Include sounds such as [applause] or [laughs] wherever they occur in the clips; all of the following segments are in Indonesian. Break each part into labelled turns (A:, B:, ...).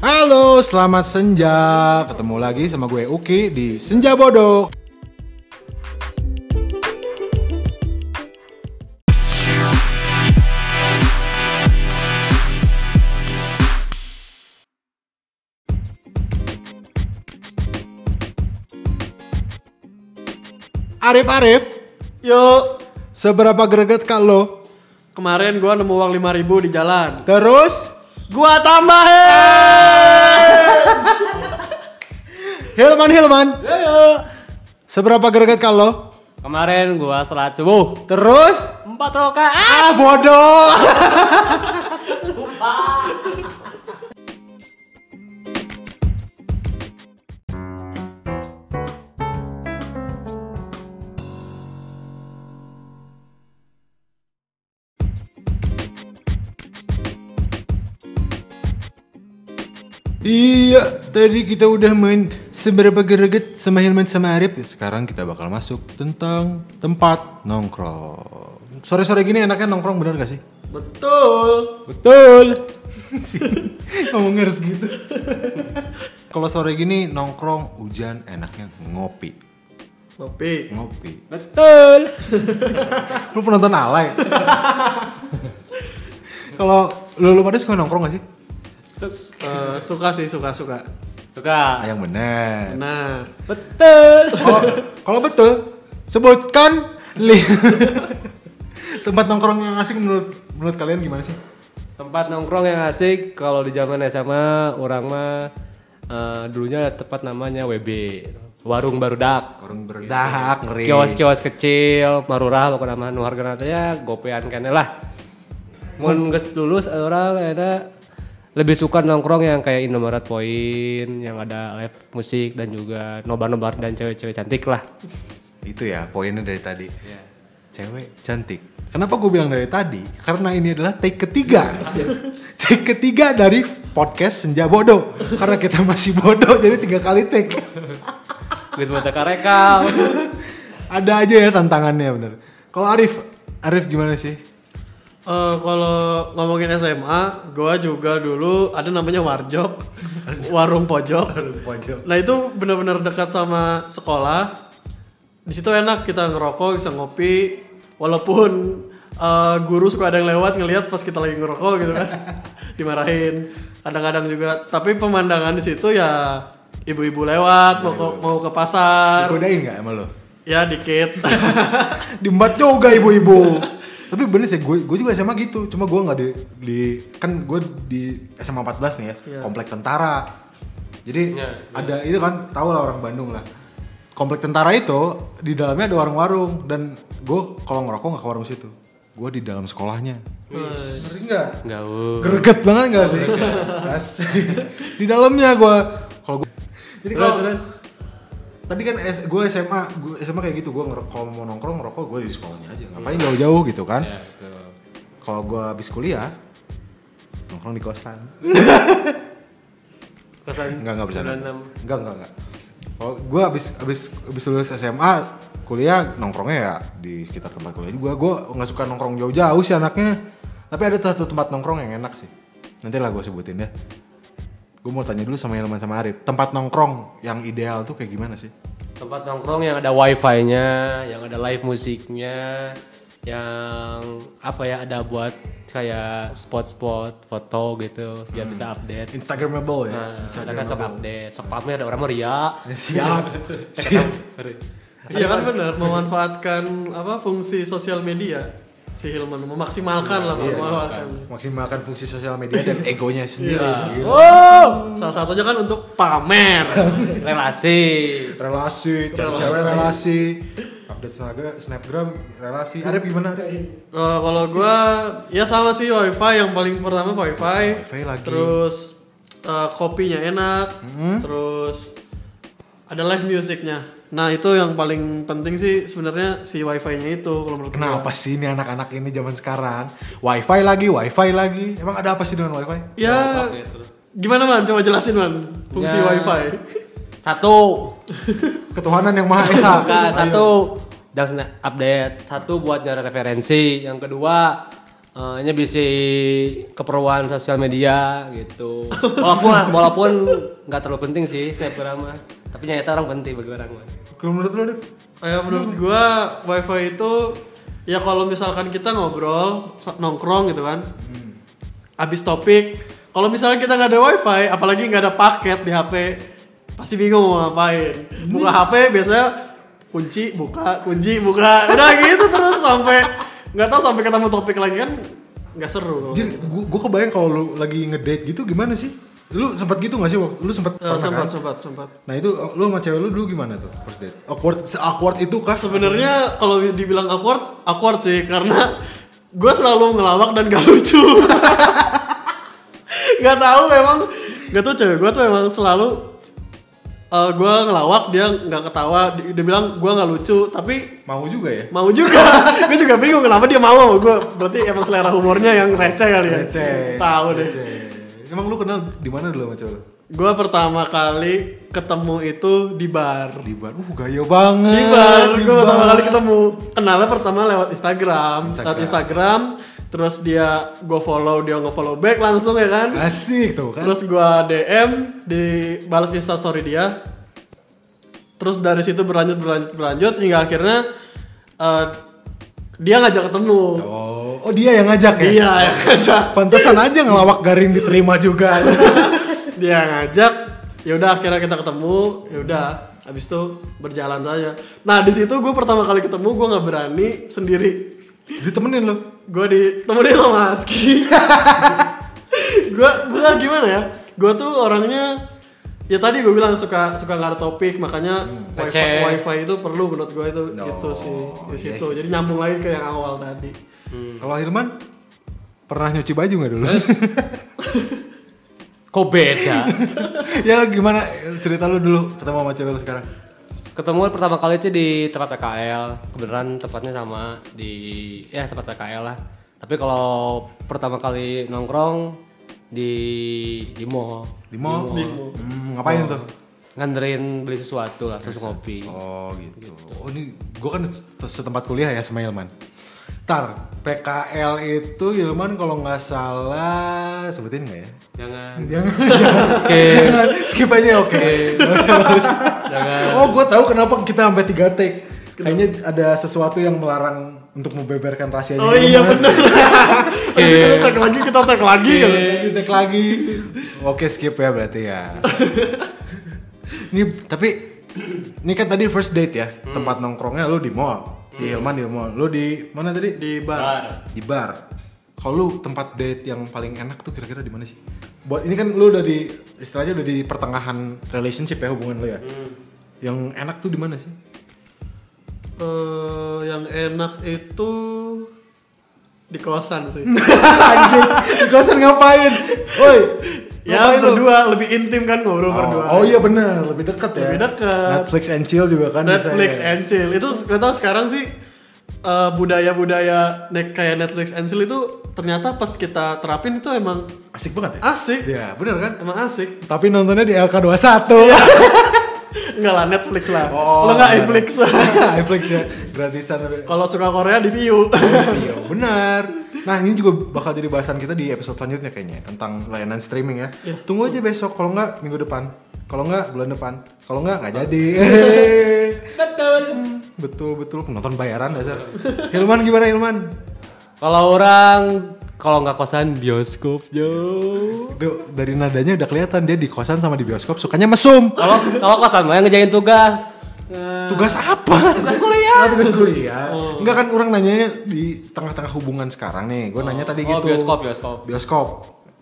A: Halo, selamat senja. Ketemu lagi sama gue Uki di Senja Bodoh. Arif Arif,
B: Yuk,
A: seberapa greget kalau
B: kemarin gua nemu uang 5000 di jalan.
A: terus
B: Gua tambahin.
A: Hilman Hilman, seberapa greget kalau
C: Kemarin gua salat subuh
A: terus
C: empat rakaat.
A: ah bodoh. Iya, tadi kita udah main seberapa gereget sama Hilman sama Arif. Ya, Sekarang kita bakal masuk tentang tempat nongkrong. Sore-sore gini enaknya nongkrong bener gak sih?
B: Betul.
C: Betul.
A: Ngomongnya harus gitu. Kalau sore gini nongkrong hujan enaknya ngopi.
B: Kopi.
A: Ngopi.
C: Betul.
A: Lu penonton alay. Kalau lu lu pada suka nongkrong gak sih?
C: Sus-
B: Eh, suka sih, suka-suka.
C: Suka.
A: Ah, Yang bener.
B: Nah,
C: Betul.
A: Kalau kalau betul, sebutkan li- tempat nongkrong yang asik menurut menurut kalian gimana sih?
C: Tempat nongkrong yang asik kalau di zaman SMA orang mah eh, dulunya ada tempat namanya WB. Warung Barudak.
A: Orang berdahak ngeri.
C: Kios-kios kecil, marurah pokoknya nama nu hargana teh ya gopean kene lah. Mun geus lulus orang ada lebih suka nongkrong yang kayak Indomaret Point yang ada live musik dan juga nobar-nobar dan cewek-cewek cantik lah.
A: Itu ya poinnya dari tadi. Cewek cantik. Kenapa gue bilang dari tadi? Karena ini adalah take ketiga. take ketiga dari podcast Senja Bodoh. Karena kita masih bodoh jadi tiga kali take.
C: Gus Mata Karekal.
A: Ada aja ya tantangannya bener. Kalau Arif, Arif gimana sih?
B: eh, kalau ngomongin SMA, gua juga dulu ada namanya warjok, warung pojok.
A: Pojok.
B: Nah itu benar-benar dekat sama sekolah. Di situ enak kita ngerokok, bisa ngopi. Walaupun eh, guru suka ada yang lewat ngelihat pas kita lagi ngerokok gitu kan, dimarahin. Kadang-kadang juga. Tapi pemandangan di situ ya ibu-ibu lewat mau ke, mau ke pasar.
A: Godain gak sama lo? [laughs]
B: Ya dikit. [laughs]
A: diembat juga
C: [laughs]
A: ibu-ibu tapi bener sih gue gue juga SMA gitu cuma gue nggak di, di kan gue di SMA 14 nih ya
B: Iya.
A: komplek tentara jadi
C: Iya,
A: ada itu kan tau lah orang Bandung lah komplek tentara itu di dalamnya ada warung-warung dan gue kalau ngerokok nggak ke warung situ gue di dalam sekolahnya ngeri nggak
C: Gaul.
A: greget banget nggak sih Asik. di dalamnya gue kalau gue jadi kalau
C: terus
A: Tadi kan S- gue SMA, gue SMA kayak gitu, gue ngerokok kalau mau nongkrong ngerokok gue di sekolahnya aja, ngapain jauh-jauh gitu kan?
C: Ya, betul.
A: Kalau gue habis kuliah nongkrong di kosan,
C: Kosan
A: enggak enggak bisa,
C: 96.
A: enggak enggak enggak. Kalau gue Oh, habis habis habis lulus SMA, kuliah nongkrongnya ya di sekitar tempat kuliah juga, gue nggak suka nongkrong jauh-jauh sih anaknya, tapi ada satu tempat nongkrong yang enak sih, nanti lah gue sebutin ya. Gue mau tanya dulu sama Hilman sama Arif, tempat nongkrong yang ideal tuh kayak gimana sih?
C: Tempat nongkrong yang ada wifi-nya, yang ada live musiknya, yang apa ya ada buat kayak spot-spot foto gitu biar
A: Hmm.
C: bisa update.
A: Instagramable ya.
C: Nah, ada kan
A: Instagramable.
C: sok update, sok pamer ada orang meriah.
A: [laughs] Siap. Siap.
B: Iya kan benar memanfaatkan apa fungsi sosial media si Hilman memaksimalkan
A: Iya,
B: lah memaksimalkan.
A: Maksimalkan fungsi sosial media dan egonya sendiri. Gila.
C: Oh,
B: Salah satunya kan untuk
A: [laughs]
B: pamer.
C: relasi.
A: Relasi, cari cewek relasi. Update snapgram, snapgram relasi. Arif gimana? Arif?
B: Eh, kalau gua ya sama sih wifi yang paling pertama wifi,
A: Wifi lagi. Hmm?
B: terus eh, kopinya enak terus ada live musiknya nah itu yang paling penting sih sebenarnya si wifi nya itu kalau menurut gua.
A: Kenapa sih ini anak-anak ini zaman sekarang? Wifi lagi, wifi lagi. Emang ada apa sih dengan wifi?
C: Eh.
B: ya gimana man coba jelasin man fungsi
C: Ya.
B: wifi
C: Satu,
A: Ketuhanan yang Maha Esa.
C: Bukan,
A: Ayo.
C: satu dan update, satu buat nyari referensi, yang kedua eh eh, nya bisa keperluan sosial media [laughs] gitu. Walaupun walaupun nggak terlalu penting sih Snapgram mah. Tapi nyata orang penting bagi orang mah.
A: Kalau menurut lu, Dit?
B: Eh, menurut gua wifi itu ya kalau misalkan kita ngobrol sa- nongkrong gitu kan
A: Hmm.
B: habis topik kalau misalnya kita nggak ada wifi apalagi nggak ada paket di HP pasti bingung mau ngapain buka HP biasanya kunci buka kunci buka udah [laughs] gitu terus sampai nggak tahu sampai ketemu topik lagi kan nggak seru
A: Jir, gua, gua kebayang kalau lu lagi ngedate gitu gimana sih? Lu sempat gitu gak sih? waktu- Lu sempat
B: Eh,
A: pernah
B: sempat
A: kan?
B: sempat sempat
A: Nah itu lu sama cewek lu dulu gimana tuh first date? Awkward, awkward itu kah?
B: Sebenarnya kalau dibilang awkward, awkward sih karena gue selalu ngelawak dan gak lucu. [laughs] gak tahu memang gak tuh cewek gue tuh emang selalu gue ngelawak dia nggak ketawa Di- dia bilang gue nggak lucu tapi
A: Mau juga ya?
B: mau juga [laughs] gue juga bingung kenapa dia mau sama gue berarti emang selera humornya yang receh kali ya tahu deh
A: Receh. Emang lu kenal di mana dulu sama cewek lu?
B: gue pertama kali ketemu itu di bar
A: Di bar. Uh, gaya banget.
B: di bar,
A: di
B: gue pertama
A: bar.
B: kali ketemu kenalnya pertama lewat Instagram, lewat Instagram terus dia gue follow dia nge-follow back langsung ya kan
A: Asik tuh kan.
B: terus gue DM di balas instastory dia terus dari situ berlanjut berlanjut berlanjut hingga akhirnya eh, dia ngajak ketemu
A: Oh, oh dia yang ngajak ya?
B: dia [laughs] yang ngajak
A: Pantesan aja ngelawak garing diterima juga.
B: dia yang ngajak ya udah akhirnya kita ketemu ya udah habis itu berjalan saja nah di situ gue pertama kali ketemu gue nggak berani sendiri
A: Ditemenin lu.
B: gue ditemenin sama Aski gue gue gimana ya gue tuh orangnya ya tadi gue bilang suka suka nggak ada topik makanya wifi,
C: Receh.
B: wifi itu perlu menurut gue itu
A: Hmm, No,
B: itu sih di
A: iya.
B: situ jadi nyambung lagi ke yang awal tadi Hmm.
A: Kalau Hilman pernah nyuci baju nggak dulu? [laughs]
C: Kok [laughs] beda?
A: ya gimana cerita lu dulu ketemu sama cewek lu sekarang?
C: Ketemuan pertama kali sih di tempat PKL. Kebenaran tempatnya sama di ya tempat PKL lah. Tapi kalau pertama kali nongkrong di di mall,
A: Di mall?
B: Di mall.
A: Hmm, ngapain tuh?
C: nganterin beli sesuatu lah terus ngopi.
A: Oh gitu. Oh ini gue kan se- setempat kuliah ya sama Ilman. Tar, PKL itu Ilman kalau nggak salah sebutin nggak ya?
C: Jangan
A: Jangan,
C: skip,
A: jangan, skip aja oke. Nggak usah, nggak usah. Oh gue tahu kenapa kita sampai tiga take. Kayaknya ada sesuatu yang melarang untuk membeberkan rahasianya.
B: oh iya
A: Ilman.
B: benar
A: [laughs]
B: kita tag lagi kita tag lagi kan
A: Iya, Kita take lagi. Oke skip ya berarti
B: [laughs]
A: ya. Ini tapi ini kan tadi first date ya. Tempat nongkrongnya lu di mall. Si Hilman di mall. Lu di mana tadi?
B: Iya. di bar
C: Bar.
A: Di bar. Kalau lu tempat date yang paling enak tuh kira-kira di mana sih? Buat ini kan lu udah di istilahnya udah di pertengahan relationship ya hubungan lu ya.
B: Hmm.
A: Yang enak tuh di mana sih? [laughs]
B: Eh, yang enak itu di kosan
A: [laughs]
B: sih
A: Anjing, di kosan ngapain? Woi.
B: ya
A: ngapain lu?
B: berdua lebih intim kan ngobrol berdua
A: Oh, oh iya bener, lebih dekat ya.
B: Lebih dekat.
A: Netflix and chill juga kan. bisa
B: Netflix
A: ya.
B: and chill itu nggak tahu sekarang sih eh, budaya-budaya net kayak Netflix and chill itu ternyata pas kita terapin itu emang
A: Asik banget ya?
B: asik,
A: Iya, bener kan?
B: emang asik.
A: Tapi nontonnya di LK21.
B: Iya. Enggak lah Netflix lah,
A: Oh,
B: lo nggak
A: benar.
B: Netflix.
A: [laughs]
B: [laughs]
A: Netflix ya, gratisan. tapi-
B: Kalau suka Korea di
A: [laughs]
B: view.
A: Iya, benar. Nah, ini juga bakal jadi bahasan kita di episode selanjutnya kayaknya tentang layanan streaming ya.
B: Iya.
A: Tunggu aja besok kalau nggak minggu depan. Kalau nggak bulan depan. Kalau nggak nggak jadi.
C: Betul.
A: betul betul penonton bayaran dasar. Hilman gimana Hilman?
C: Kalau orang kalau nggak kosan bioskop jauh.
A: Duh, dari nadanya udah kelihatan dia di kosan sama di bioskop sukanya mesum.
C: Kalau kalau kosan mah yang ngejain tugas. Eh,
A: Tugas apa?
C: Tugas kuliah. Oh.
A: Oh, tugas kuliah. Enggak kan orang nanyanya di tengah-tengah hubungan sekarang nih. Gue nanya tadi
C: oh,
A: gitu.
C: bioskop, bioskop.
A: Bioskop.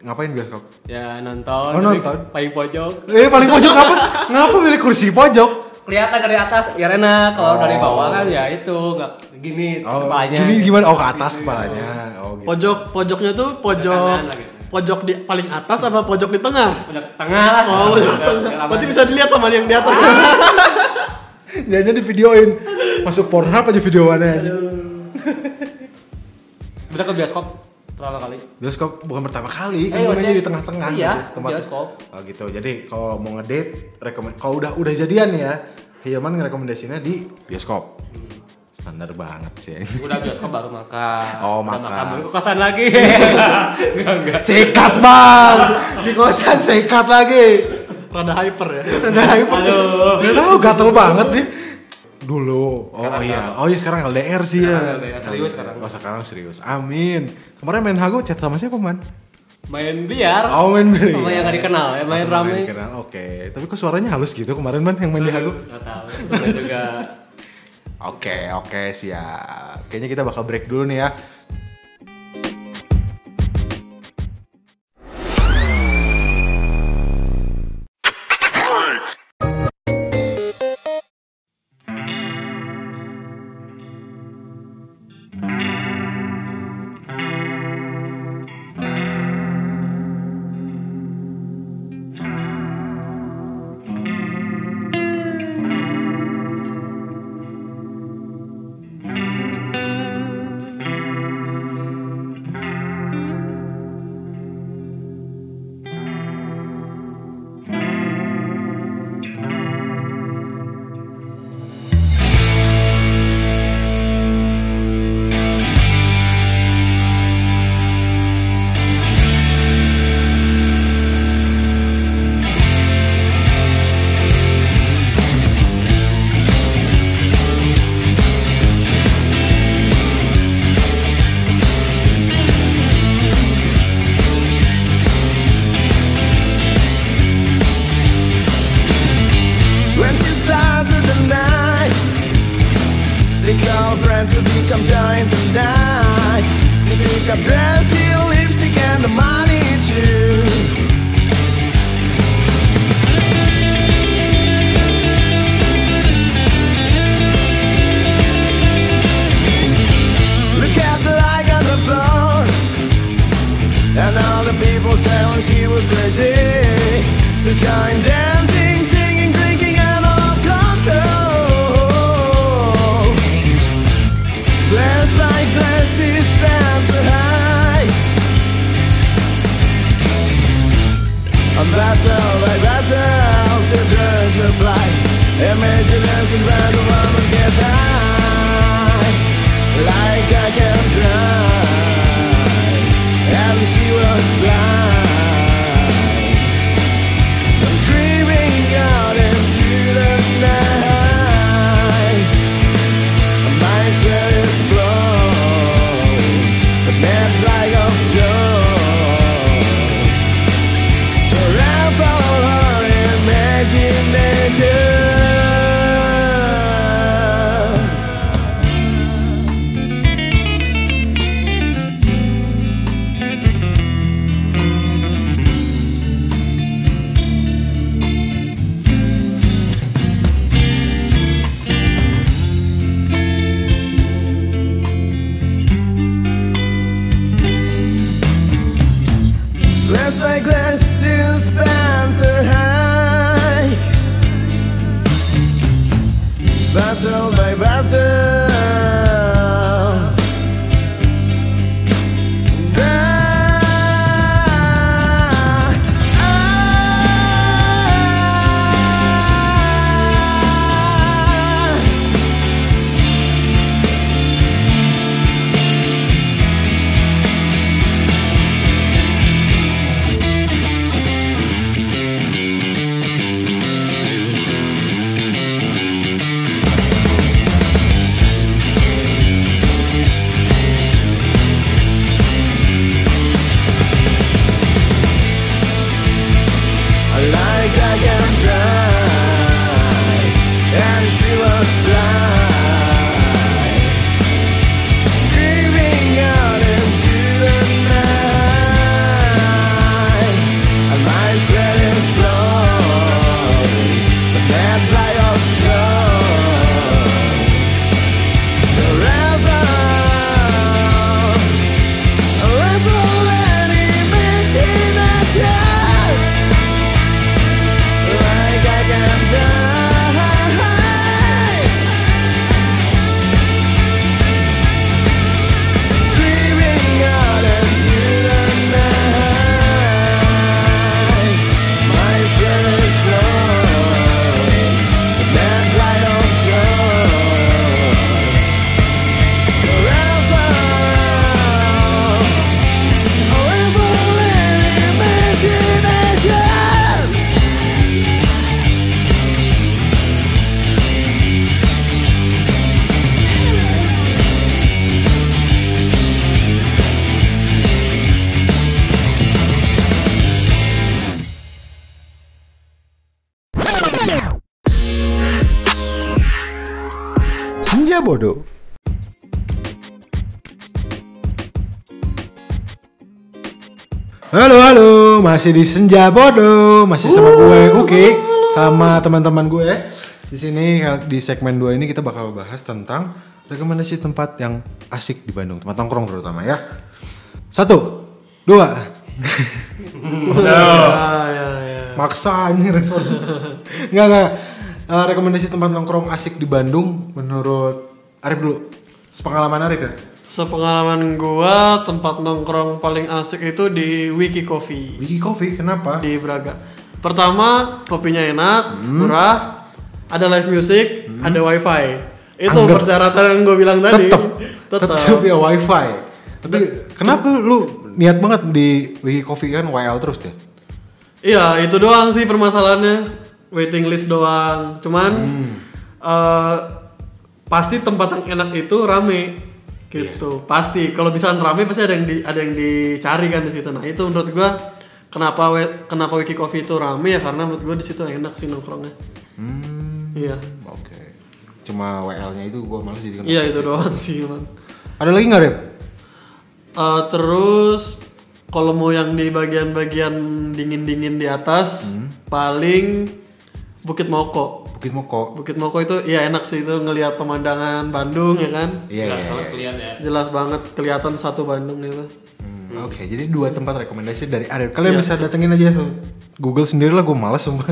A: Ngapain bioskop?
C: Ya nonton.
A: Oh,
C: tapi
A: nonton.
C: Paling pojok.
A: Eh paling pojok apa? Ngapa milih kursi pojok?
C: Kelihatan dari atas biar enak. Kalau
A: Oh.
C: dari bawah kan ya itu nggak gini
A: Oh,
C: kepalanya.
A: gini gimana? Oh, ke atas kepalanya. Oh, gitu.
B: pojok pojoknya tuh
C: Kanan
B: pojok
C: lagi.
B: pojok di paling atas apa pojok di tengah?
C: Pojok tengah lah.
A: [laughs]
B: Oh, pojok tengah. Berarti bisa dilihat sama yang di atas.
C: Ah.
A: Jadinya di videoin. Masuk Pornhub aja videoannya.
C: Udah ke bioskop pertama kali.
A: Bioskop bukan pertama kali, kan
C: Eh,
A: gue
C: maksudnya-
A: nanya di tengah-tengah
C: iya,
A: gitu,
C: bioskop.
A: Oh gitu. Jadi kalau mau ngedate rekomend kalau udah udah jadian nih ya, Hilman ngerekomendasinya di bioskop.
D: standar banget sih. [laughs]
C: Udah bioskop baru makan.
D: Oh,
C: Udah
D: makan.
C: baru ke kosan
A: [laughs]
C: lagi. Enggak enggak.
D: Sikat bang, di kosan sikat lagi.
B: Rada hyper ya.
D: Nah, Aduh. Gak tau, gatel banget deh. Dulu. Oh iya. Oh iya sekarang LDR sih ya.
C: Sekarang LDR, serius sekarang.
D: Oh sekarang serius. Amin. Kemarin main Hago chat sama siapa man?
C: Main biar.
D: Oh main beli.
C: Sama yang gak dikenal ya, main rame.
D: Oke. Tapi kok suaranya halus gitu kemarin man yang main di Hago?
C: Enggak tahu. Gua juga
D: Oke, oke, siap. Kayaknya kita bakal break dulu nih ya.
A: When she started the night Sneak out friends who become giants and die Sneak pick up dress, steal lipstick and the money too Look at the light on the floor and all the people said well, she was crazy She's going dancing, singing, drinking and out of control Glass by glass, she stands so high And battle by battle, she turns to fly Imagination that the woman can die Like I can fly and she was blind. I'm screaming out into the night. My spirit flows, the mad light of joy. Forever her imagination. Glass by glass is spans a high Battle by battle Ah, ah, ah.
E: bodoh.
A: Halo halo, masih di Senja Bodoh, masih sama gue Uki, sama teman-teman gue. ya. Di sini di segmen 2 ini kita bakal bahas tentang rekomendasi tempat yang asik di Bandung, tempat nongkrong terutama ya. Satu, dua,
B: Ah, ya, ya.
A: maksa anjing respon. Enggak enggak. Eh, rekomendasi tempat nongkrong asik di Bandung menurut Arif dulu. Sepengalaman Arif ya?
B: Sepengalaman gua tempat nongkrong paling asik itu di Wiki Coffee
A: Wiki Coffee kenapa?
B: di Braga. Pertama, kopinya enak,
A: Hmm.
B: murah, ada live music, ada wifi. Itu
A: Anggap-
B: persyaratan yang gue bilang tadi.
A: tetep
B: Tetep.
A: tetep ya wifi tapi kenapa lu niat banget di Wiki Coffee kan WL terus deh
B: Iya, itu doang sih permasalahannya. Waiting list doang. Cuman eh, pasti tempat yang enak itu rame gitu. Pasti kalau misalkan rame pasti ada yang di, ada yang dicari kan di situ. Nah, itu menurut gua kenapa we- kenapa Wiki Coffee itu rame ya karena menurut gua di situ enak sih nongkrongnya. Iya.
A: oke cuma WL nya itu gua malas jadi kenapa
B: Iya, itu doang sih, Bang.
A: ada lagi nggak Rip?
B: Eh, terus kalau mau yang di bagian-bagian dingin-dingin di atas paling Bukit Moko.
A: Bukit Moko
B: Bukit Moko itu ya enak sih itu ngelihat pemandangan Bandung ya kan.
A: iya iya, iya.
B: Jelas banget kelihatan satu Bandung itu.
A: Hmm, oke jadi dua tempat rekomendasi dari Arif kalian
B: Iya.
A: bisa datengin aja Google sendiri lah gue malas
B: [laughs]
A: sumpah [laughs]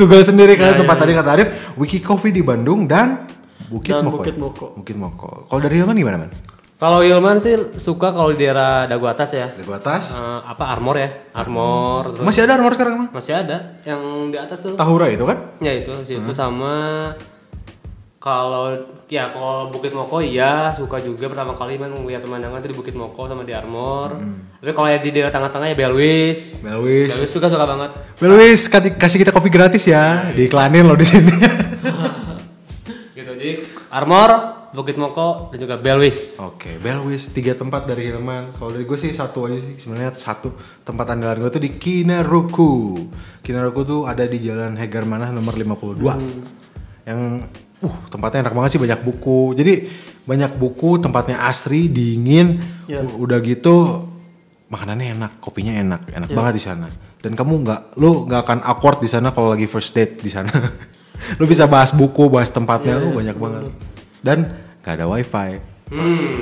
A: Google sendiri
B: Iya,
A: kalian tempat tadi kata Arif Wiki Coffee di Bandung dan Bukit
B: Dan
A: Moko ya?
B: Bukit Moko.
A: Bukit Moko kalau dari Ilman gimana man?
C: Kalau Ilman sih suka kalau di daerah Dagu Atas ya.
A: Dari atas
C: Eh, apa armor ya? Armor terus
A: masih ada nomor sekarang man?
C: masih ada yang di atas tuh.
A: Tahura itu kan?
C: Ya itu, situ
B: Hmm.
C: sama kalau ya kalau Bukit Moko iya suka juga pertama kali kan melihat pemandangan tuh di Bukit Moko sama di Armor.
B: Hmm.
C: Tapi kalau yang di daerah tengah-tengah ya Belwis.
A: Belwis.
C: Belwis suka suka banget.
A: Belwis kati- kasih kita kopi gratis ya, diiklanin loh di sini. [laughs]
C: Gitu jadi Armor, Bukit Moko dan juga Belwis.
A: Oke, Belwis tiga tempat dari Hilman. Kalau dari gue sih satu aja sih sebenarnya satu tempat andalan gue tuh di Kinaruku. Kinaruku tuh ada di Jalan Hegar Manah nomor 52. Yang uh tempatnya enak banget sih banyak buku. Jadi banyak buku, tempatnya asri, dingin.
B: Iya.
A: U- Udah gitu makanannya enak, kopinya enak, enak banget di sana. Dan kamu nggak, lu nggak akan awkward di sana kalau lagi first date di sana. [laughs] lu bisa bahas buku, bahas tempatnya, lu banyak banget. Dan nggak ada wifi.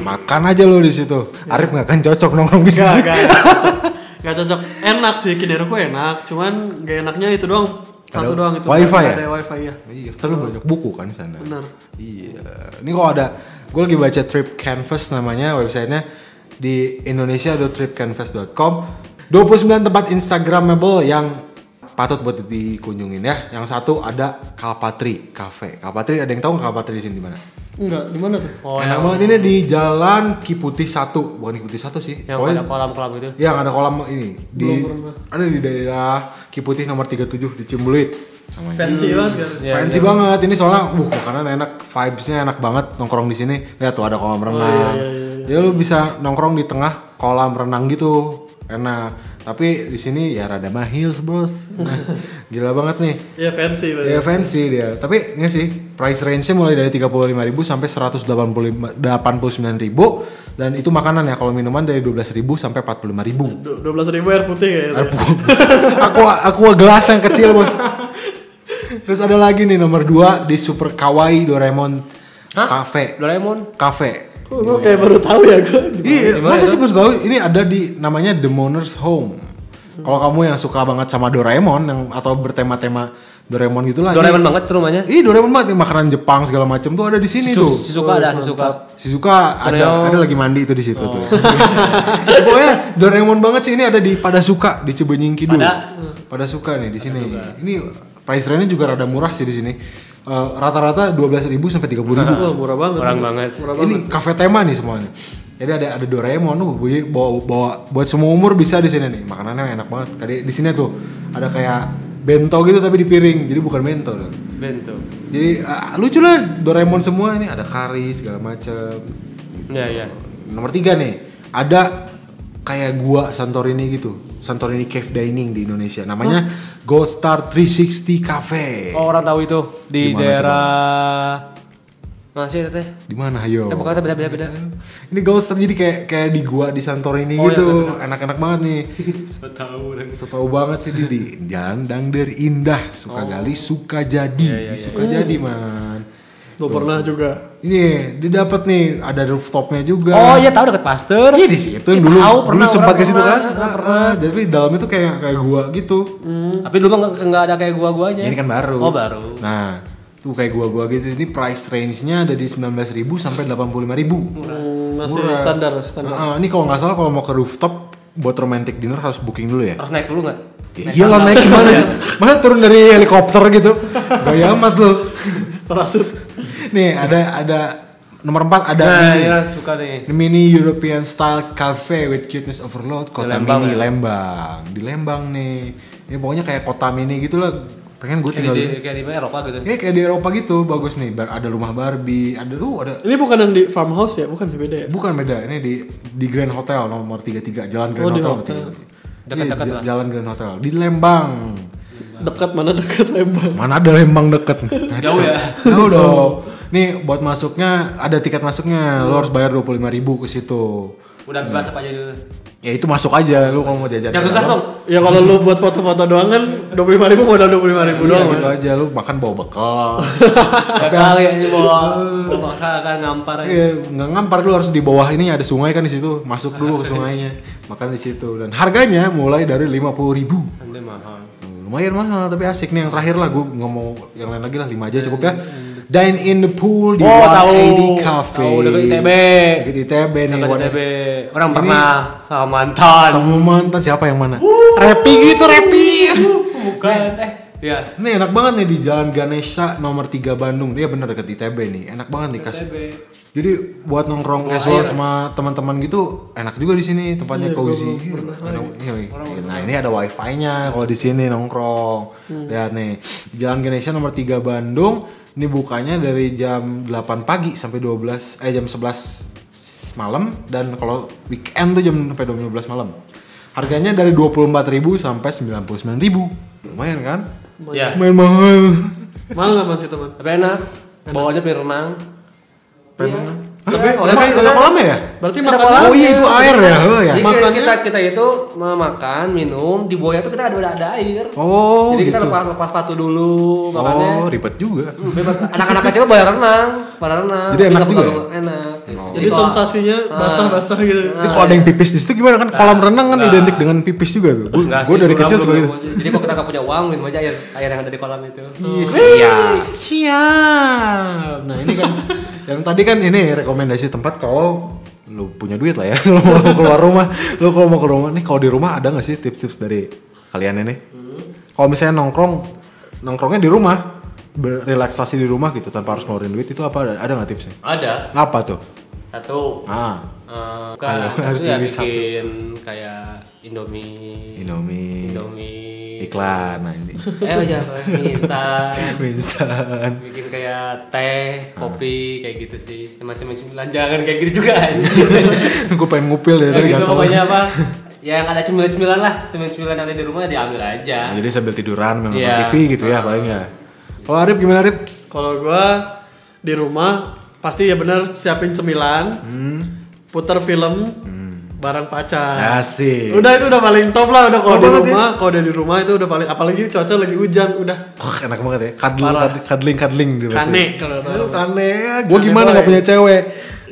A: Makan aja lu di situ. Arif nggak akan cocok nongkrong di
B: Gak,
A: sana.
B: gak, gak cocok. Gak cocok. Enak sih Kineruku enak, cuman gak enaknya itu doang. Satu
A: Ada
B: doang itu.
A: wifi
B: Gak
A: ya?
B: Ada wifi ya.
A: Iya, tapi banyak buku kan di sana.
B: Benar.
A: Iya. Ini kok ada gue lagi baca Trip Canvas namanya websitenya di Indonesia ada tripcanvas.com. 29 tempat Instagramable yang patut buat dikunjungin ya. Yang satu ada Kalpatri Cafe. Kalpatri ada yang tahu nggak Kalpatri di sini di mana?
B: Enggak, di mana tuh?
C: Oh,
A: Enak
C: yang,
A: banget ini di Jalan Ki Putih 1, bukan Ki Putih 1 sih.
C: yang
A: Pokoknya-
C: ada kolam-kolam gitu.
A: Iya, ada kolam ini di
B: Belum pernah.
A: ada di daerah Ki Putih nomor 37 di Cimbuluit namanya.
B: Fancy banget kan?
C: Iya,
A: Fancy banget. Ini soalnya uh makanan enak, vibes-nya enak banget nongkrong di sini. Lihat tuh ada kolam
C: Oh, iya,
A: renang. Jadi lu bisa nongkrong di tengah kolam renang gitu. Enak. Tapi di sini ya rada mahil,
C: [laughs]
A: Bos. Gila banget nih.
B: Iya fancy banget.
A: Ya fancy dia. Tapi ini sih price range-nya mulai dari 35.000 sampai 185 89.000 dan itu makanan ya. Kalau minuman dari 12.000 sampai 45.000.
B: Dua belas ribu air putih kayaknya. tuh ya. [laughs]
A: aku aku gelas yang kecil bos terus ada lagi nih nomor 2 di super kawaii doraemon cafe
C: Doraemon.
A: cafe
B: Oh, Gue kayak baru tahu ya gue.
A: Iya, masa sih baru tahu ini ada di namanya The Mourner's Home. Kalau kamu yang suka banget sama Doraemon yang atau bertema-tema Doraemon gitu lah.
C: Doraemon
A: ini-
C: banget tuh rumahnya.
A: Ih, Doraemon banget nih, makanan Jepang segala macem tuh ada di sini
C: Sisu-
A: tuh.
C: Shizuka ada, Shizuka.
A: Shizuka ada,
C: Soalnya-
A: ada lagi mandi itu di situ tuh. [laughs] Pokoknya Doraemon banget sih ini ada di Padasuka di Cibenying Kidul.
C: Pada-
A: Padasuka nih di sini. Ini price range-nya juga rada murah sih di sini. Eh, rata-rata 12.000 sampai 30.000.
B: Wah murah banget.
C: Kurang banget.
A: Ini kafe tema nih semuanya. Jadi ada ada Doraemon tuh bu- bawa, bawa buat semua umur bisa di sini nih. Makanannya enak banget. Kali di sini tuh ada kayak bento gitu tapi di piring. Jadi bukan bento dong.
C: Bento.
A: Jadi ah, lucu lah Doraemon semua ini ada kari segala macem. Iya,
C: Ya ya.
A: Nomor tiga nih ada kayak gua Santorini gitu. Santorini Cave Dining di Indonesia. Namanya Gold Star 360 Cafe.
C: Oh, orang tahu itu di
A: Di mana,
C: daerah Masih teteh.
A: Di mana ayo?
C: Eh bukan beda beda beda.
A: Ini ghost tapi jadi kayak kayak di gua di Santorini
C: Oh, iya,
A: gitu.
C: bener-bener.
A: Enak-enak banget
C: [laughs]
A: nih.
B: Saya tahu orang.
A: So tau banget sih Didi. Jalan Dangder indah,
C: Oh.
A: suka gali, suka jadi,
C: Iya,
A: suka jadi man.
B: Lo pernah juga.
A: Ini dia dapat nih ada rooftopnya juga.
C: Oh iya tahu dekat pasteur.
A: Iya di situ
C: Iya,
A: dulu.
C: tahu,
A: dulu
C: pernah,
A: sempat
C: orang
A: ke situ
C: pernah,
A: kan?
C: orang
A: Ah, ah, Tapi dalamnya tuh kayak kayak gua gitu.
C: Hmm. Tapi dulu mah nggak- nggak ada kayak gua-guanya.
A: Ini kan baru.
C: Oh baru.
A: Nah, tuh kayak gua-gua gitu. Ini price range-nya ada di 19.000 sampai 85.000.
B: Hmm, masih
A: Murah.
B: standar
A: Nah,
B: standar.
A: ah, ini kalau nggak salah kalau mau ke rooftop buat romantic dinner harus booking dulu ya.
C: Harus Oh, naik dulu nggak?
A: Ya iyalah naik gimana
C: [laughs]
A: sih? Masa turun dari helikopter gitu? Gaya amat lu.
B: Parasut.
A: Nih ada ada nomor 4 ada
C: Nah,
A: ini.
C: iya suka nih.
A: The mini European style cafe with cuteness overload kota
C: Di Lembang
A: mini
C: ya?
A: Lembang di Lembang nih ini pokoknya kayak kota mini gitu lah pengen gue
C: Kayak
A: tinggal
C: di,
A: di Iya.
C: kayak di Eropa gitu.
A: ini kayak di Eropa gitu bagus nih Bar- ada rumah Barbie ada uh ada
B: Ini bukan yang di farmhouse ya, bukan beda ya.
A: bukan beda ini di di Grand Hotel nomor 33 Jalan Grand
B: Oh, di
A: Hotel,
B: hotel.
A: betul.
C: Dekat-dekat
A: Iya,
C: lah.
A: Jalan Grand Hotel di Lembang
B: Dekat mana dekat Lembang.
A: mana ada Lembang deket
C: [laughs] Jauh ya?
A: [laughs] jauh dong nih buat masuknya ada tiket masuknya lo harus bayar 25.000 ke situ
C: Udah
A: Iya.
C: bebas apa aja dulu.
A: ya itu masuk aja lu kalau mau jajan
C: Jangan gas
A: apa-apa.
C: dong.
B: Ya kalau lu buat foto-foto doang kan 25 ribu modal 25 ribu
A: Udah
B: doang.
A: gitu
B: kan?
A: aja lu makan bawa bekal. [laughs]
C: Gak kali aja bawa bawa paksa akan kan ngampar aja.
A: Iya, nggak ngampar lu harus di bawah ini ada sungai kan di situ. Masuk dulu ke sungainya. Makan di situ dan harganya mulai dari 50.000. ribu
C: Nanti mahal.
A: Lumayan mahal tapi asik nih yang terakhir lah gue nggak mau yang lain lagi lah 5 aja cukup ya. Dine in the pool di
C: Oh,
A: 180
C: tahu.
A: Cafe.
C: Tahu, deket ITB.
A: Deket ITB nih.
C: Dekat
A: one-
C: ITB. Orang
A: Ini-
C: pernah sama mantan.
A: Sama mantan siapa yang mana? Repi gitu, Repi.
C: Bukan. Eh, iya.
A: Ini enak banget nih di Jalan Ganesha nomor 3 Bandung. Dia bener deket ITB nih. Enak banget nih kasih. Jadi buat nongkrong casual sama teman-teman gitu enak juga di sini tempatnya cozy. Ada- iya, iya. Nah, ini ada wifi-nya kalau di sini nongkrong. Lihat nih, di Jalan Ganesha nomor 3 Bandung. Ini bukanya dari jam 8 pagi sampai 12 eh jam 11 s- malam dan kalau weekend tuh jam sampai jam 12 malam. Harganya dari 24.000 sampai 99.000. Lumayan kan?
C: Iya.
A: Lumayan mahal.
B: Mahal nggak masih teman?
C: Tapi enak. Bawa aja pilih renang. Iya.
A: Tapi
C: Iya, soalnya
A: emang
C: kita-
A: ada kolamnya ya?
B: Berarti
C: Ada
B: makan
C: kolam.
A: Oh iya itu air ya. Oh ya.
C: Jadi
B: Makannya-
C: kayak kita kita itu makan, minum, di bawahnya tuh kita ada ada air.
A: Oh,
C: Jadi kita
A: gitu.
C: lepas lepas sepatu dulu, makannya. Hmm,
A: Oh, ribet juga.
C: Bebas. Anak-anak kecil boleh renang, pada renang.
A: Jadi enak
C: Bisa
A: juga ya? Oh.
C: putar- Enak.
B: Jadi
C: kalau-
B: sensasinya basah-basah gitu.
A: Jadi kalau ada yang pipis di situ gimana kan kolam renang kan identik dengan pipis juga tuh.
C: Nah. Enggak
A: Gue
C: sih,
A: dari
C: kurang
A: kecil gitu.
C: belum
A: seperti itu.
C: nemu sih. Jadi kalau kita nggak punya uang, minum aja air, air yang ada di kolam itu.
A: Iya, siap. Siap. Nah, ini [laughs] kan yang tadi kan ini rekomendasi tempat kalau lu punya duit lah ya. [laughs] Lu mau keluar rumah, lu kalau mau ke rumah nih kalau di rumah ada nggak sih tips-tips dari kalian ini? Kalau misalnya nongkrong, nongkrongnya di rumah, relaksasi di rumah gitu tanpa harus ngeluarin duit itu apa ada nggak tipsnya?
C: Ada
A: Apa tuh?
C: satu.
A: Ah,
C: eh,
A: Ada,
C: bukan
A: harus
C: satu ya
A: milih satu.
C: bikin kayak Indomie.
A: Indomie.
C: Indomie.
A: Iklan nah ini.
C: Eh aja apa? Mie instan.
A: Mie [laughs] instan.
C: bikin kayak teh, kopi kayak gitu sih. Macam-macam belanjangan kayak gitu
A: [laughs]
C: juga.
A: gue pengen ngupil dari Iya,
C: Kayak
A: tadi
C: gitu
A: gatel.
C: pokoknya apa? Ya yang ada cemilan-cemilan lah, cemilan-cemilan yang ada di rumah ya diambil
A: Nah,
C: aja.
A: jadi sambil tiduran memang
C: Iya.
A: TV gitu ya paling ya. Kalau Arif gimana Arif?
B: Kalau gua di rumah pasti ya benar siapin cemilan,
A: Hmm.
B: putar film, bareng pacar.
A: Asik.
B: Udah itu udah paling top lah udah kalau
A: Top
B: di
A: banget ya.
B: rumah, kalau udah di rumah itu udah paling apalagi cuaca lagi hujan udah
A: Wah, enak banget ya. Kadling
B: Parah.
A: kad- kadling kadling gitu. pasti.
B: kane kalau
A: Lu
B: tau.
A: kane. Gue
B: Kane
A: gimana nggak
B: boy.
A: punya cewek?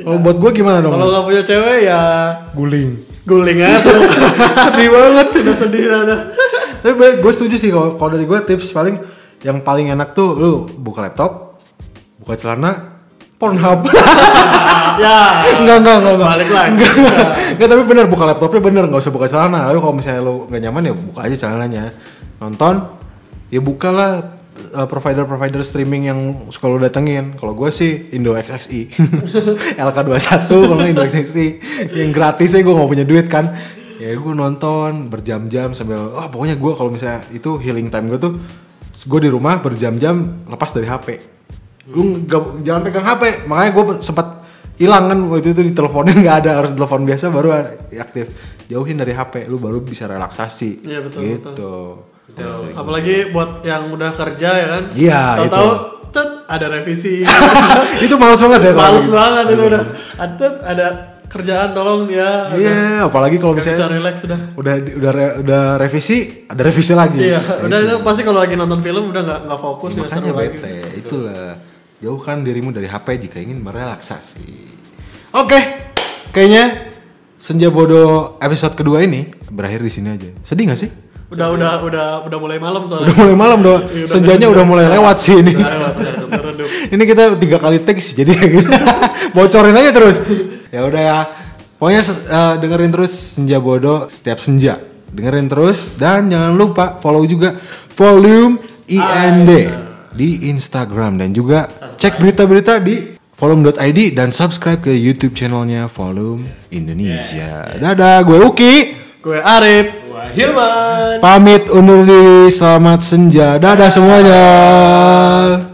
A: Kalau buat gue gimana dong?
B: Kalau nggak punya cewek ya
A: Guling. [laughs]
B: guling aja.
A: Sedih banget.
B: udah sedih dah,
A: [laughs]
B: udah.
A: Tapi gue setuju sih kalau kalau dari gue tips paling yang paling enak tuh lu buka laptop, buka celana, Pornhub. [laughs]
B: Ya.
A: Enggak, enggak, enggak, enggak.
B: Balik lagi.
A: [laughs] Enggak, enggak, tapi bener buka laptopnya bener, nggak usah buka celana. Tapi kalau misalnya lo nggak nyaman ya buka aja celananya. Nonton, ya bukalah uh, provider-provider streaming yang suka lo datengin. Kalau gue sih Indo [laughs] XXI, LK21, kalau nggak Indo XXI. Yang gratis ya gue nggak punya duit kan. Ya gue nonton berjam-jam sambil, wah pokoknya gue kalau misalnya itu healing time gue tuh, gue di rumah berjam-jam lepas dari HP lu nggak- jangan pegang HP makanya gue sempat hilang kan waktu itu diteleponin [laughs] nggak ada harus telepon biasa baru aktif jauhin dari HP lu baru bisa relaksasi
B: Iya, betul,
A: gitu [laughs]
B: Apalagi buat yang udah kerja ya kan.
A: Iya,
B: Tahu-tahu tet ada
A: [laughs]
B: revisi
A: itu males banget ya kalau
B: males
A: gitu.
B: banget itu udah Ah, tet ada kerjaan tolong ya
A: Iya, apalagi kalau
B: Nggak bisa
A: misalnya
B: relax udah
A: udah udah re- udah revisi, ada revisi lagi.
B: iya
A: Kayak
B: udah
A: gitu.
B: itu pasti kalau lagi nonton film udah nggak nggak fokus ya
A: Makanya
B: seru lagi
A: bete, itulah. Jauhkan dirimu dari HP jika ingin merelaksasi. Oke, kayaknya Senja Bodoh episode kedua ini berakhir di sini aja. Sedih gak sih?
B: udah udah udah udah mulai malam soalnya
A: Udah mulai malam doh.
B: Iya, udah
A: Senjanya
B: mulai
A: udah mulai lewat sih ini.
B: Udah lewat, udah udah redup.
A: ini kita tiga kali take sih jadi gitu. [laughs] bocorin aja terus ya udah ya pokoknya eh, dengerin terus senja bodoh setiap senja dengerin terus dan jangan lupa follow juga volume ind
B: Ah, iya.
A: di Instagram dan juga cek berita-berita di volume.id dan subscribe ke YouTube channelnya Volume Indonesia. Dadah, gue Uki.
B: gue Arif
C: Wah, Hilman.
A: Pamit undur diri. Selamat senja. Dadah semuanya.